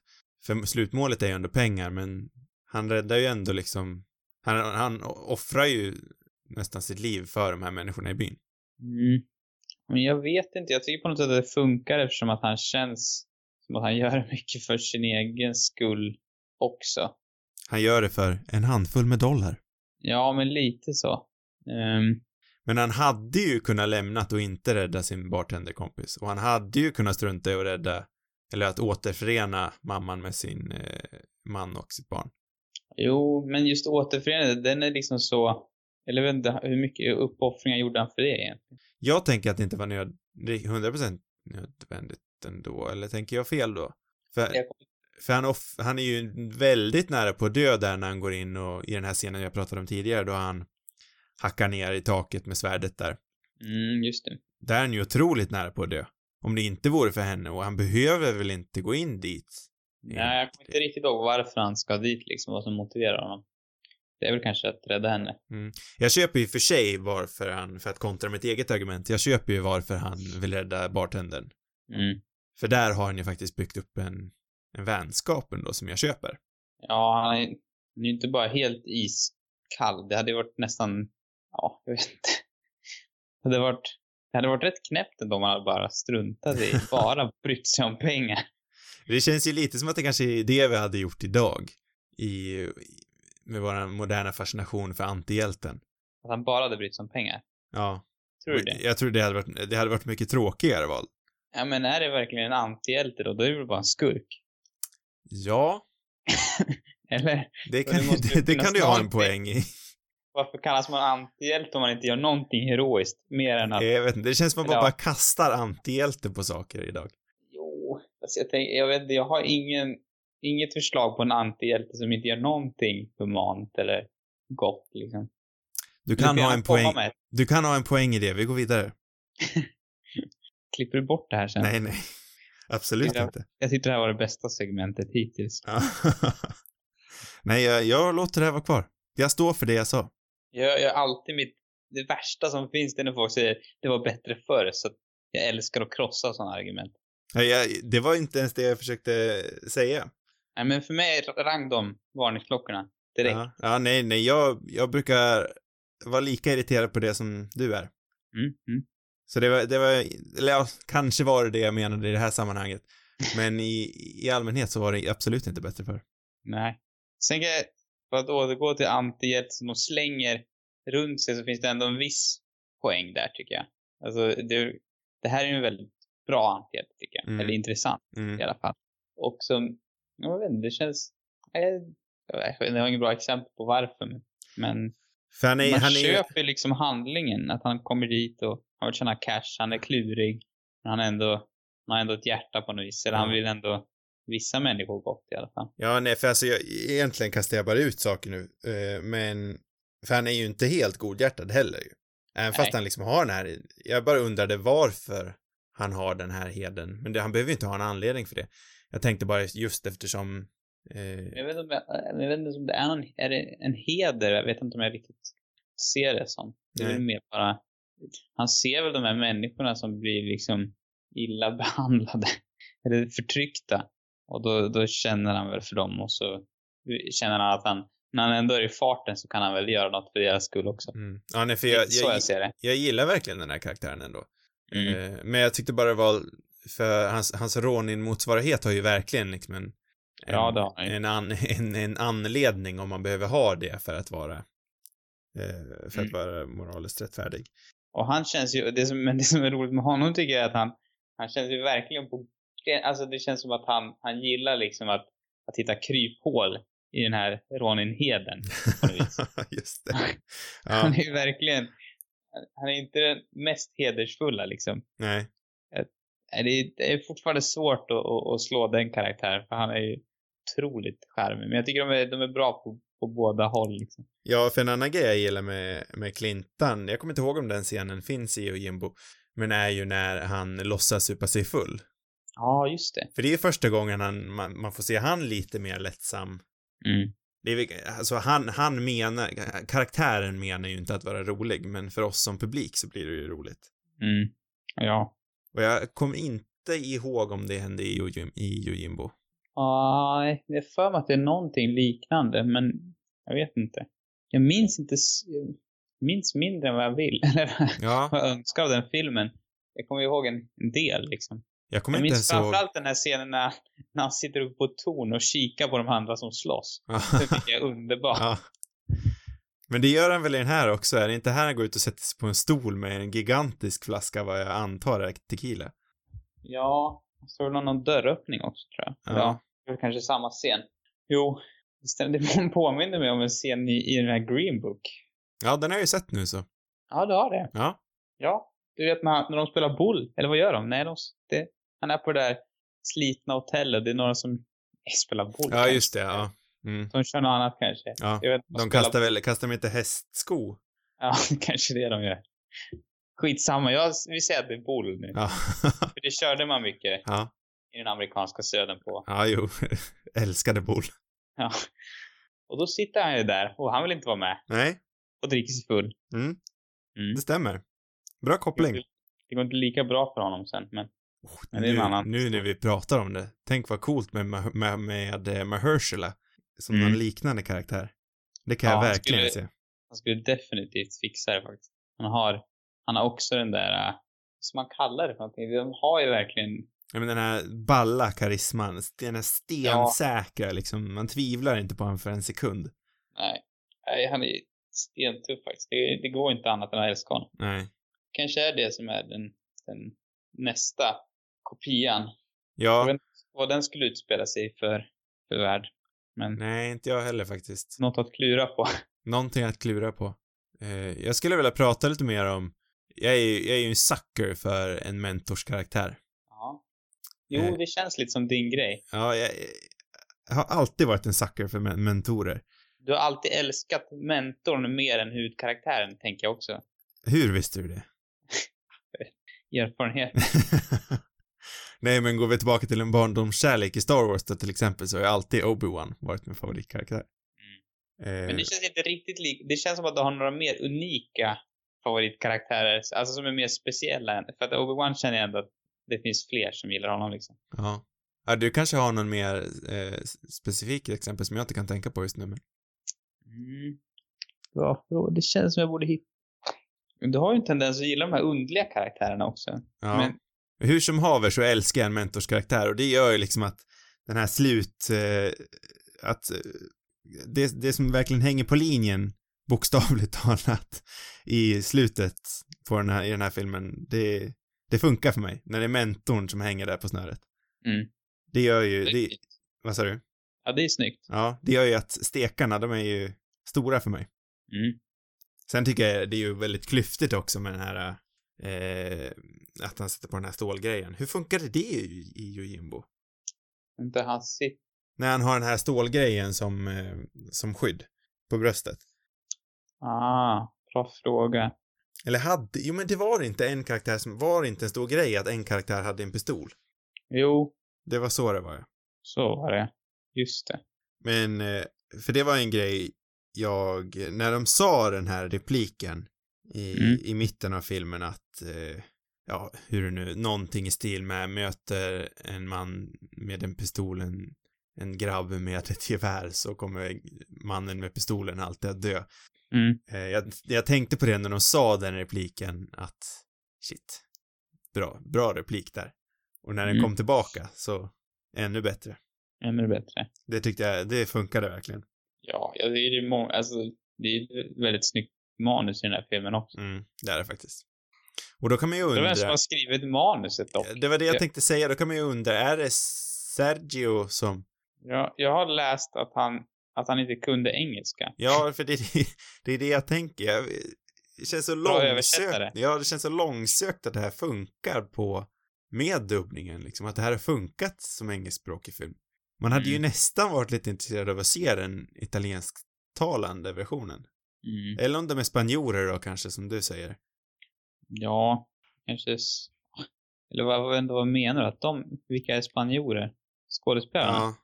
S1: För slutmålet är ju ändå pengar, men han räddar ju ändå liksom, han, han offrar ju nästan sitt liv för de här människorna i byn.
S2: Mm. Men jag vet inte, jag tycker på något sätt att det funkar eftersom att han känns som att han gör mycket för sin egen skull också.
S1: Han gör det för en handfull med dollar.
S2: Ja, men lite så. Ehm,
S1: Men han hade ju kunnat lämnat och inte rädda sin bartenderkompis. Och han hade ju kunnat strunta i att rädda, eller att återförena mamman med sin eh, man och sitt barn.
S2: jo, men just återförenade, den är liksom så... Eller jag vet inte, hur mycket uppoffringar gjorde han för det egentligen?
S1: Jag tänker att det inte var nöd, 100% nödvändigt ändå, eller tänker jag fel då? För,
S2: Jag
S1: för han, off, han är ju väldigt nära på att dö där när han går in och i den här scenen jag pratade om tidigare då han hackar ner i taket med svärdet där.
S2: Mm, just det.
S1: Där är han ju otroligt nära på att dö. Om det inte vore för henne och han behöver väl inte gå in dit?
S2: Nej, jag kommer inte riktigt ihåg varför han ska dit liksom, vad som motiverar honom. Det är väl kanske att rädda henne.
S1: Jag köper ju för sig varför han, för att kontra mitt eget argument, jag köper ju varför han vill rädda bartendern.
S2: Mm.
S1: För där har han ju faktiskt byggt upp en, en vänskap ändå som jag köper.
S2: Ja, han är han är ju inte bara helt iskall. Det hade ju varit nästan, ja, jag vet inte. Det hade varit, det hade varit rätt knäppt ändå om han hade bara struntat i, bara brytt sig om pengar.
S1: Det känns ju lite som att det kanske är det vi hade gjort idag i, i- med vår moderna fascination för antihjälten.
S2: Att han bara hade brytt sig om pengar.
S1: Ja.
S2: Tror du det?
S1: Jag tror det hade varit, det hade varit mycket tråkigare val.
S2: Ja, men är det verkligen en antihjälte då? Då är det väl bara en skurk?
S1: Ja,
S2: Eller
S1: det
S2: det
S1: kan,
S2: måste ju
S1: det, det kan
S2: finnas
S1: du ha en
S2: någonting.
S1: poäng i.
S2: varför kallas man antihjälte om man inte gör någonting heroiskt? Mer än att,
S1: Jag vet inte, det känns som att man
S2: Ja.
S1: bara kastar antihjälte på saker idag.
S2: jo, alltså jag, tänker, jag vet inte, jag har ingen, inget förslag på en antihjälte som inte gör någonting humant eller gott liksom.
S1: Du kan
S2: får
S1: ha
S2: gärna
S1: en
S2: komma
S1: poäng,
S2: med ett.
S1: du kan ha en poäng i det, vi går vidare.
S2: Klipper du bort det här sen?
S1: Nej, nej. Absolut
S2: Ja.
S1: inte.
S2: Jag tyckte det här var det bästa segmentet hittills.
S1: Ja. nej, jag, jag låter det här vara kvar. Jag står för det jag sa.
S2: Jag gör alltid mitt, det värsta som finns det är när folk säger det var bättre förr, så att jag älskar att krossa sådana argument.
S1: Nej, jag, det var inte ens det jag försökte säga.
S2: Nej men för mig, rang de varningsklockorna direkt.
S1: Ja, ja nej, nej, jag, jag brukar vara lika irriterad på det som du är.
S2: Mm, mm.
S1: Så det var, det var, eller ja, kanske var det det jag menade i det här sammanhanget. Men i, i allmänhet så var det absolut inte bättre för.
S2: Nej. Sen kan jag, för att återgå till antihjälte som de slänger runt sig så finns det ändå en viss poäng där tycker jag. Alltså det, det här är ju en väldigt bra antihjälte tycker jag.
S1: Mm.
S2: Eller intressant
S1: Mm.
S2: i alla fall. Och som, jag vet inte, det känns, jag, jag vet inte, jag har inget bra exempel på varför men, men
S1: För han är,
S2: man
S1: han är ju,
S2: köper ju liksom handlingen. Att han kommer dit och han vill tjäna cash, han är klurig. Men han, är ändå, han har ändå ett hjärta på något vis. Eller han
S1: Mm.
S2: vill ändå vissa människor gott i alla fall.
S1: ja nej, för alltså jag, egentligen kastar jag bara ut saker nu, eh, men, för han är ju inte helt godhjärtad heller ju. Även fast
S2: Nej.
S1: han liksom har den här, jag bara undrade varför han har den här heden, men det, han behöver ju inte ha en anledning för det. Jag tänkte bara just eftersom, eh,
S2: Jag vet, inte om jag, jag vet inte om det är någon, är det en heder? Jag vet inte om jag riktigt ser det som. Det är väl
S1: Nej.
S2: mer bara, han ser väl de här människorna som blir liksom illa behandlade. Eller förtryckta. Och då, då känner han väl för dem och så känner han att han, när han ändå är i farten så kan han väl göra något för deras skull också.
S1: mm. ja nej för
S2: Det är
S1: jag,
S2: så
S1: jag,
S2: jag ser det.
S1: jag gillar verkligen den här karaktären ändå.
S2: Mm.
S1: Eh, Men jag tyckte bara det var, för hans, hans Ronin-motsvarighet har ju verkligen liksom en, en,
S2: Ja, det har han ju.
S1: en, an, en, en anledning om man behöver ha det för att vara, eh, för att
S2: Mm.
S1: vara moraliskt rättfärdig.
S2: Och han känns ju, det som, men det som är roligt med honom tycker jag är att han, han känns ju verkligen på, alltså det känns som att han, han gillar liksom att, att hitta kryphål i den här Ronin-heden. på något vis.
S1: Just det.
S2: Han
S1: Ja,
S2: är ju verkligen, han är inte den mest hedersfulla liksom.
S1: nej.
S2: Det är, det är fortfarande svårt att, att, att slå den karaktären för han är ju otroligt charmig. Men jag tycker de är, de är bra på, på båda håll liksom.
S1: Ja, för en annan grej jag gillar med, med Clintan, jag kommer inte ihåg om den scenen finns i Ojimbo, men är ju när han låtsas supa sig full.
S2: Ja, just det.
S1: För det är ju första gången han, man, man får se han lite mer lättsam
S2: Mm.
S1: Det är, väl- alltså han, han menar, karaktären menar ju inte att vara rolig, men för oss som publik så blir det ju roligt.
S2: Mm. Ja.
S1: Och jag kommer inte ihåg om det hände i Jojim- i Jojimbo.
S2: Ah, Nej, jag har för mig att det är någonting liknande, men jag vet inte. Jag minns inte, s- jag minns mindre än vad jag vill, eller
S1: Ja,
S2: vad jag önskar av den filmen. Jag kommer ihåg en, en del liksom.
S1: jag kommer
S2: Jag
S1: inte
S2: minns
S1: ens ihåg.
S2: framförallt den här scenen när, när han sitter uppe på ett torn och kikar på de andra som slåss. Det tycker jag är underbart.
S1: ja. Men det gör han väl i den här också? Är det inte här han går ut och sätter sig på en stol med en gigantisk flaska vad jag antar är tequila?
S2: Ja, så var det någon dörröppning också tror jag.
S1: Ja.
S2: det var kanske samma scen. Jo, just det det påminner mig om en scen i, i den här Green Book.
S1: Ja, den har jag ju sett nu så.
S2: Ja, du har det.
S1: Ja.
S2: Ja, Du vet när, han- när de spelar boll, eller vad gör de? Nej, de, det, han är på det där slitna hotellet. Det är några som eh, spelar boll.
S1: Ja, just det. Ja. Mm.
S2: De kör något annat kanske.
S1: Ja.
S2: Jag vet, inte,
S1: De
S2: spelar-
S1: kastar väl, kastar de inte hästsko?
S2: Ja, kanske det de gör. Skitsamma, jag, vi säger att det är boll nu.
S1: Ja.
S2: För det körde man mycket
S1: ja.
S2: i den amerikanska södern på.
S1: Ja, jo. Älskade boll.
S2: Ja. Och då sitter han ju där och han vill inte vara med
S1: Nej,
S2: och dricker sig full.
S1: Mm.
S2: Mm.
S1: det stämmer. Bra koppling.
S2: Det går inte lika bra för honom sen, men
S1: Oh,
S2: Men det är en annan.
S1: nu, nu när vi pratar om det, tänk vad coolt med, Ma- med, med eh, Mahershala som
S2: Mm.
S1: någon liknande karaktär. Det kan
S2: Ja,
S1: jag
S2: han
S1: verkligen
S2: skulle-
S1: se.
S2: han skulle definitivt fixa det faktiskt. Han har, han har också den där, eh, som man kallar det för någonting, de har ju verkligen,
S1: Ja, men den här balla karisman, den här stensäkra liksom, man tvivlar inte på honom för en sekund.
S2: nej, nej han är stentuff faktiskt. Det, det går inte annat än att älska honom.
S1: Nej.
S2: Kanske är det som är den, den nästa kopian, Jag
S1: Ja,
S2: vet- vad den skulle utspela sig för, för värld. Men
S1: nej, inte jag heller faktiskt.
S2: något att klura på.
S1: Någonting att klura på. Eh, jag skulle vilja prata lite mer om, jag är ju, jag är ju en sucker för en mentorskaraktär.
S2: Ja. Jo,
S1: Eh.
S2: det känns lite som din grej.
S1: Ja, jag, jag har alltid varit en sucker för men- mentorer.
S2: Du har alltid älskat mentorn mer än huvudkaraktären, tänker jag också.
S1: Hur visste du det?
S2: Erfarenhet.
S1: Nej, men går vi tillbaka till en barndomskärlek i Star Wars då till exempel så har ju alltid Obi-Wan varit min favoritkaraktär. Eh,
S2: Mm. Men det känns inte riktigt lik. Det känns som att du har några mer unika favoritkaraktärer, alltså som är mer speciella. än- För att Obi-Wan känner jag ändå att det finns fler som gillar honom liksom.
S1: ja. ja, du kanske har någon mer eh, specifik exempel som jag inte kan tänka på just nu, men
S2: Mm. Bra fråga. Det känns som jag borde hitta. Du har ju en tendens att gilla de här underliga karaktärerna också.
S1: ja.
S2: Men-
S1: Hur som haver så älskar jag en mentorskaraktär och det gör ju liksom att den här slut, eh, att eh, det, det som verkligen hänger på linjen bokstavligt talat i slutet på den här, i den här filmen, det, det funkar för mig. När det är mentorn som hänger där på snöret.
S2: Mm.
S1: Det gör ju, det, vad sa du?
S2: Ja, det är snyggt.
S1: Ja, det gör ju att stekarna, de är ju stora för mig.
S2: Mm.
S1: Sen tycker jag det är ju väldigt klyftigt också med den här, eh, att han sätter på den här stålgrejen. Hur funkade det i, i Yojimbo?
S2: Inte hans sitt.
S1: När han har den här stålgrejen som, eh, som skydd på bröstet.
S2: Ah, bra fråga.
S1: Eller hade, jo men det var inte en karaktär som, var inte en stor grej att en karaktär hade en pistol.
S2: Jo,
S1: Det var så det var ja.
S2: så var det. Just det.
S1: Men, eh, för det var en grej jag, när de sa den här repliken i,
S2: Mm.
S1: i mitten av filmen att, eh, ja, hur det nu, någonting i stil med möter en man med en pistol, en, en grabb med ett gevär så kommer mannen med pistolen alltid att dö.
S2: Mm.
S1: Eh, jag, jag tänkte på det när de sa den repliken att, shit, bra, bra replik där. Och när den
S2: Mm.
S1: kom tillbaka så, ännu bättre.
S2: Ännu bättre.
S1: Det tyckte jag, det funkade verkligen.
S2: Ja, ja, det är ju många, alltså, det är ett väldigt snyggt manus i den här filmen också.
S1: Mm, det är det faktiskt. Och då kan man ju
S2: Det är vem
S1: undra,
S2: som har skrivit manuset dock.
S1: det var det jag
S2: Ja.
S1: tänkte säga, då kan man ju undra, är det Sergio som,
S2: Jag, jag har läst att han, att han inte kunde engelska.
S1: ja, för det, det är det jag tänker. Jag, det känns så
S2: Bra översättare.
S1: långsökt, ja, det känns så långsökt att det här funkar på, med dubbningen liksom, att det här har funkat som engelskspråkig film. Man hade ju
S2: Mm.
S1: nästan varit lite intresserad av att se den italiensktalande versionen.
S2: Mm.
S1: Eller om de är spanjorer då kanske, som du säger.
S2: Ja, kanske... s- Eller vad, vad, vad menar du? Att de, vilka är spanjorer? Skådespelarna?
S1: Ja.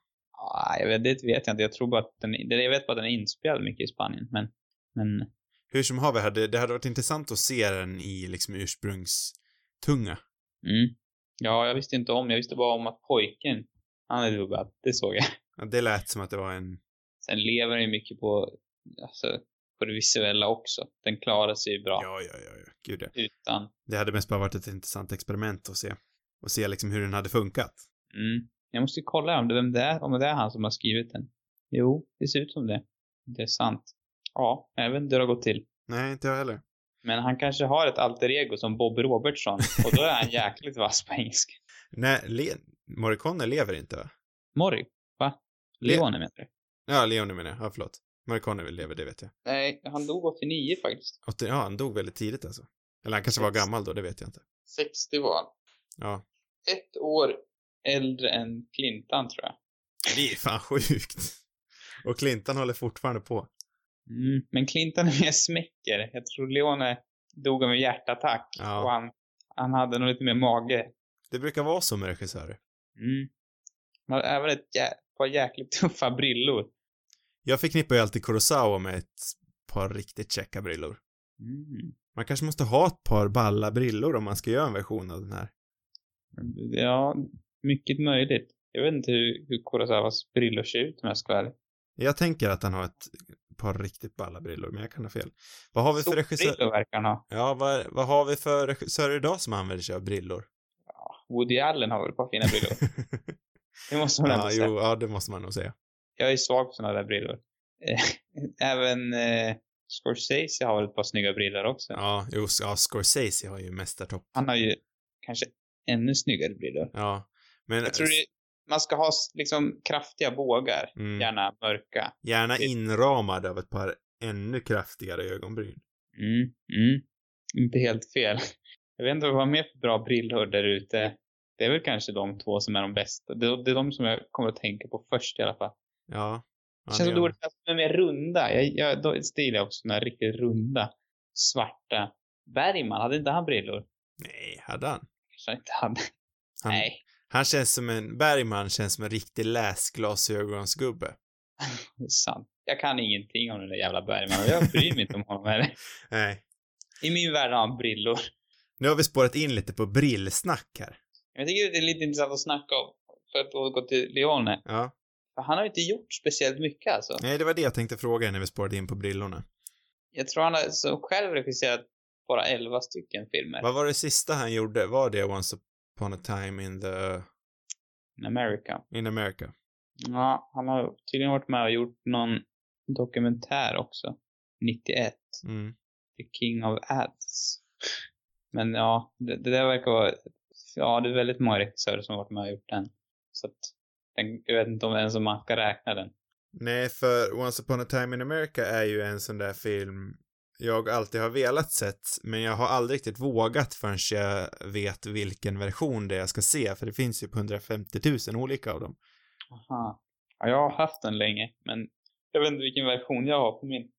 S2: Ah, jag vet, det vet jag inte. Jag tror bara att den, jag vet bara att den är inspelad mycket i Spanien, men, men
S1: Hur som haver, hade, det hade varit intressant att se den i liksom ursprungstunga.
S2: Mm. Ja, jag visste inte om. Jag visste bara om att pojken, han är dubbad. Det såg jag.
S1: Ja, Det lät som att det var en...
S2: Sen lever den ju mycket på, alltså, på det visuella också. Den klarar sig ju bra
S1: Ja, ja, ja, ja. gud ja.
S2: utan.
S1: Det hade mest bara varit ett intressant experiment att se. Och se liksom hur den hade funkat.
S2: Mm. Jag måste kolla om det, vem det är, om det är han som har skrivit den. Jo, det ser ut som det. Det är sant. Ja, jag vet inte hur det har gått till.
S1: Nej, inte jag heller.
S2: Men han kanske har ett alter ego som Bobby Robertson och då är han jäkligt vass på engelska.
S1: Nej, Le... Morricone lever inte va?
S2: Morry, va?
S1: Le-
S2: Leone menar du?
S1: Ja, Leone menar jag. Ja, förlåt. Morricone lever, det vet jag.
S2: Nej, han dog 89 faktiskt.
S1: Åttio- Ja, han dog väldigt tidigt alltså. Eller han kanske var gammal då, det vet jag inte.
S2: 60 var han.
S1: Ja.
S2: Ett år äldre än Clintan, tror jag.
S1: Det är fan sjukt. Och Clintan håller fortfarande på.
S2: Mm. Men Clintan är mer smäcker. Jag tror Leone dog av en hjärtattack.
S1: Ja.
S2: Och han, han hade nog lite mer mage.
S1: Det brukar vara så med regissörer.
S2: Mm. Han hade även ett jä par jäkligt tuffa brillor.
S1: Jag förknippar ju alltid Kurosawa med ett par riktigt checka brillor.
S2: Mm.
S1: Man kanske måste ha ett par balla brillor om man ska göra en version av den här.
S2: Ja, mycket möjligt. Jag vet inte hur, hur Kurosawas brillor ser ut om jag ska vara ärlig.
S1: Jag tänker att han har ett par riktigt balla brillor, men jag kan ha fel. Vad har vi för regissör?
S2: Solbrillor verkar han ha.
S1: Ja, vad, vad har vi för regissörer idag som använder sig av brillor?
S2: Woody Allen har väl ett par fina brillor. Det måste man ändå
S1: ja,
S2: säga.
S1: jo, ja, det måste man nog säga.
S2: Jag är svag på sådana där brillor. Eh, Även eh, Scorsese har väl ett par snygga brillor också.
S1: Ja, jo, ja, Scorsese har ju mästartopp.
S2: Han har ju kanske ännu snyggare brillor.
S1: Ja, men
S2: Jag tror det, man ska ha s- liksom kraftiga bågar,
S1: mm,
S2: gärna mörka.
S1: gärna inramad av ett par ännu kraftigare ögonbryn.
S2: Mm, mm. Inte helt fel. Jag vet inte vad vi har mer för bra brillor där ute. Det är väl kanske de två som är de bästa. Det är, det är de som jag kommer att tänka på först i alla fall.
S1: Ja. ja
S2: Det känns
S1: det
S2: som
S1: gör
S2: dåligt att de är mer runda. Jag, jag, då stilar jag också några riktigt runda, svarta. Bergman, hade inte han brillor?
S1: man. Nej, hade han?
S2: Kanske han inte hade.
S1: Han,
S2: Nej,
S1: han känns som en, Bergman känns som en riktig läsglasögonsgubbe.
S2: det är sant. Jag kan ingenting om den där jävla Bergman och jag bryr mig inte om honom heller.
S1: Nej.
S2: I min värld har han brillor.
S1: Nu har vi spårat in lite på brillsnack här.
S2: Jag tycker det är lite intressant att snacka om. För att återgå till Leone.
S1: Ja.
S2: För han har ju inte gjort speciellt mycket alltså.
S1: Nej, det var det jag tänkte fråga er när vi spårade in på brillorna.
S2: Jag tror han har så själv regisserat bara 11 stycken filmer.
S1: Vad var det sista han gjorde? Var det Once upon a time in the...
S2: In America.
S1: in America?
S2: Ja, han har tydligen varit med och gjort någon dokumentär också. 91.
S1: Mm.
S2: The King of Ads. Men ja, det, det där verkar vara... Ja, det är väldigt många regissörer som har varit med och gjort den. Så att, den, jag vet inte om ens om man kan räkna den.
S1: Nej, för Once upon a time in America är ju en sån där film jag alltid har velat sett, men jag har aldrig riktigt vågat förrän jag vet vilken version det är jag ska se, för det finns ju på 150 000 olika av dem.
S2: Aha. Ja, jag har haft den länge, men jag vet inte vilken version jag har på min.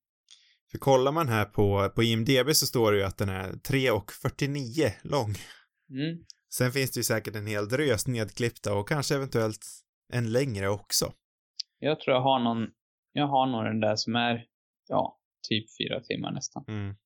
S1: För kollar man här på, på IMDB så står det ju att den är 3 och 49 lång.
S2: Mm.
S1: Sen finns det ju säkert en hel drös nedklippta och kanske eventuellt en längre också.
S2: Jag tror jag har någon... Jag har nog den där som är, ja, typ fyra timmar nästan.
S1: Mm.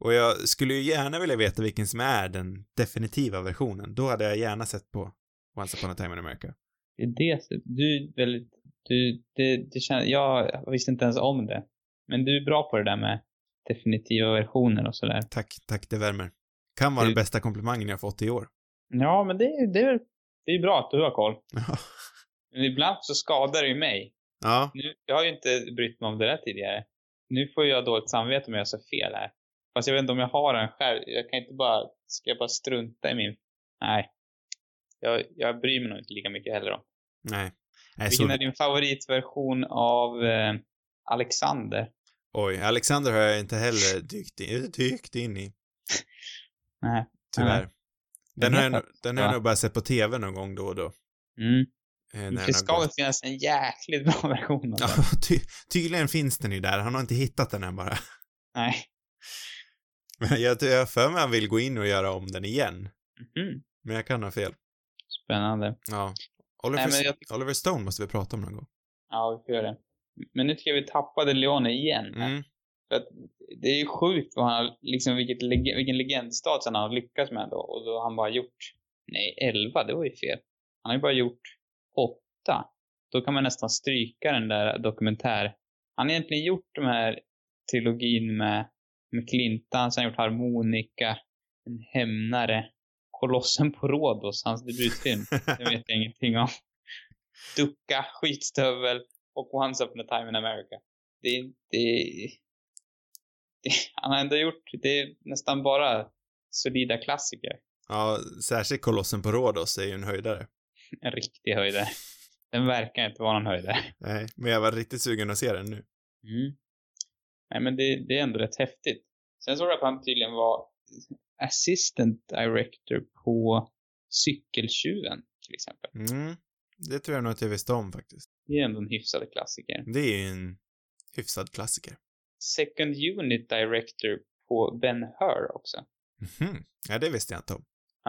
S1: Och jag skulle ju gärna vilja veta vilken som är den definitiva versionen. Då hade jag gärna sett på Once upon a time in America.
S2: Det är det som- Du är väldigt... Du, det, det känns, jag visste inte ens om det. Men du är bra på det där med definitiva versioner och sådär.
S1: Tack, tack, det värmer. Kan vara
S2: Det-
S1: den bästa komplimangen jag fått i år.
S2: Ja, men det, det, är, det är bra att du har koll.
S1: Ja.
S2: Men ibland så skadar det ju mig.
S1: ja,
S2: Nu, jag har ju inte brytt mig om det där tidigare. Nu får jag dåligt samvete om jag gör så fel här. Fast jag vet inte om jag har den själv. Jag kan inte bara... Ska jag bara strunta i min... Nej. Jag, jag bryr mig nog inte lika mycket heller om.
S1: nej. nej
S2: Vilken
S1: så...
S2: är din favoritversion av eh, Alexander?
S1: Oj, Alexander har jag inte heller dykt in, dykt in i.
S2: Nej.
S1: Tyvärr. Den har jag,
S2: vet
S1: nog- den har jag
S2: va?
S1: nog bara sett på tv någon gång då och då. eh,
S2: Mm.
S1: när den
S2: Det
S1: har
S2: ska väl
S1: gått.
S2: finnas en jäkligt bra version av
S1: Ja,
S2: den.
S1: ty, tydligen finns den ju där. Han har inte hittat den än bara.
S2: Nej.
S1: Men jag jag har för mig han vill gå in och göra om den igen.
S2: Mhm.
S1: Men jag kan ha fel.
S2: Spännande.
S1: Ja. Oliver,
S2: Nej, men jag-
S1: Oliver Stone måste vi prata om någon gång.
S2: Ja, vi får göra det. Men nu tycker jag vi tappade Leone igen.
S1: Mm.
S2: För att det är ju sjukt vad han, har- liksom vilket, leg- vilken legendstatus han har lyckats med då. Och då har han bara gjort, nej 11, det var ju fel. Han har ju bara gjort 8. Då kan man nästan stryka den där dokumentär. Han har egentligen gjort de här trilogin med, med Clintan, sen har han gjort Harmonika, En hämnare, Kolossen på Rhodos, hans debutfilm. Det vet jag ingenting om. Ducka, skitstövel och Once upon a time in America. Det, det, det, han har ändå gjort, det är nästan bara solida klassiker.
S1: ja, särskilt Kolossen på Rhodos är ju en höjdare.
S2: En riktig höjdare. Den verkar inte vara någon höjdare.
S1: Nej, men jag var riktigt sugen att se den nu.
S2: Mm. Nej men det, det är ändå rätt häftigt. Sen såg jag att han tydligen var assistant director på Cykeltjuven till exempel.
S1: Mm. Det tror jag nog att jag visste om faktiskt.
S2: Det är ändå en hyfsad klassiker.
S1: Det är ju en hyfsad klassiker.
S2: Second unit director på Ben Hur också.
S1: Mhm. Ja, det visste jag inte om.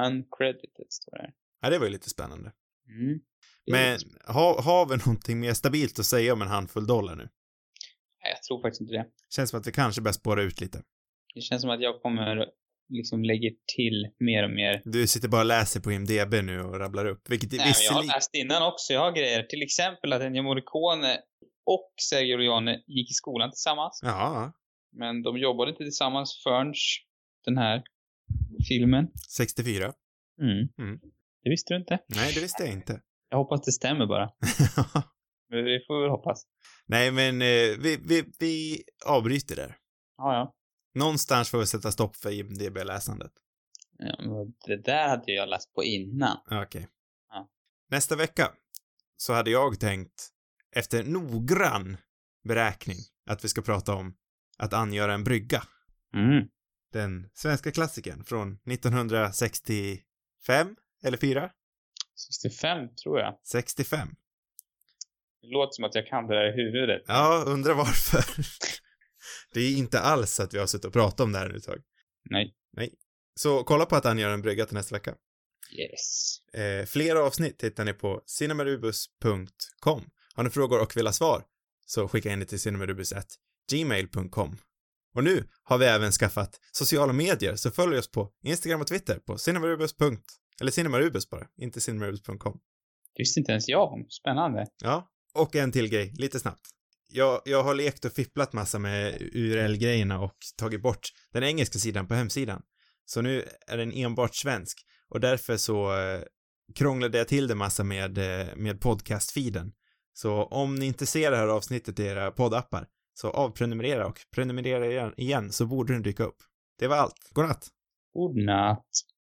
S2: Uncredited står det här.
S1: Ja, det var ju lite spännande.
S2: Mm. Det är
S1: Men
S2: lite-
S1: har, har vi någonting mer stabilt att säga om en handfull dollar nu?
S2: Nej, jag tror faktiskt inte det.
S1: Känns som att vi kanske bör spåra ut lite.
S2: Det känns som att jag kommer liksom lägga till mer och mer.
S1: Du sitter bara och läser på IMDB nu och rabblar upp, vilket är
S2: Nej, men jag har
S1: visserligen...
S2: läst innan också. Jag har grejer. Till exempel att Ennio Morricone och Sergio Leone gick i skolan
S1: Mm.
S2: tillsammans.
S1: Ja,
S2: Men de jobbade inte tillsammans förrän den här filmen.
S1: 64. Mm.
S2: Det visste du inte.
S1: Nej, det visste jag inte.
S2: Jag hoppas det stämmer bara. Men det får vi väl hoppas.
S1: Nej, men eh, vi, vi, vi avbryter där.
S2: Ja, ja.
S1: Någonstans får vi sätta stopp för IMDB-läsandet.
S2: Ja, men Det där hade jag läst på innan.
S1: Okej.
S2: Ja.
S1: Nästa vecka så hade jag tänkt, efter noggrann beräkning, att vi ska prata om att angöra en brygga.
S2: Mm.
S1: Den svenska klassikern från 1965, eller 4?
S2: 65 tror jag.
S1: 65.
S2: Det låter som att jag kan det där i huvudet.
S1: Ja, undrar varför. Det är inte alls att vi har suttit och pratat om det här nu ett tag.
S2: Nej.
S1: Nej. Så kolla på att han gör en brygga till nästa vecka.
S2: Yes.
S1: Eh, flera avsnitt hittar ni på cinemarubus.com. Har ni frågor och vill ha svar så skicka in det till cinemarubus.gmail.com. Och nu har vi även skaffat sociala medier, så följ oss på Instagram och Twitter på cinemarubus. Eller cinemarubus bara, inte cinemarubus.com.
S2: Det visste inte ens jag om. Spännande.
S1: Ja, och en till grej, lite snabbt. Jag, jag har lekt och fipplat massa med URL-grejerna och tagit bort den engelska sidan på hemsidan. Så nu är den enbart svensk och därför så eh, krånglade jag till det massa med, eh, med podcast-feeden. Så om ni inte ser det här avsnittet i era poddappar så avprenumerera och prenumerera igen, igen så borde den dyka upp. Det var allt. Godnatt!
S2: Godnatt.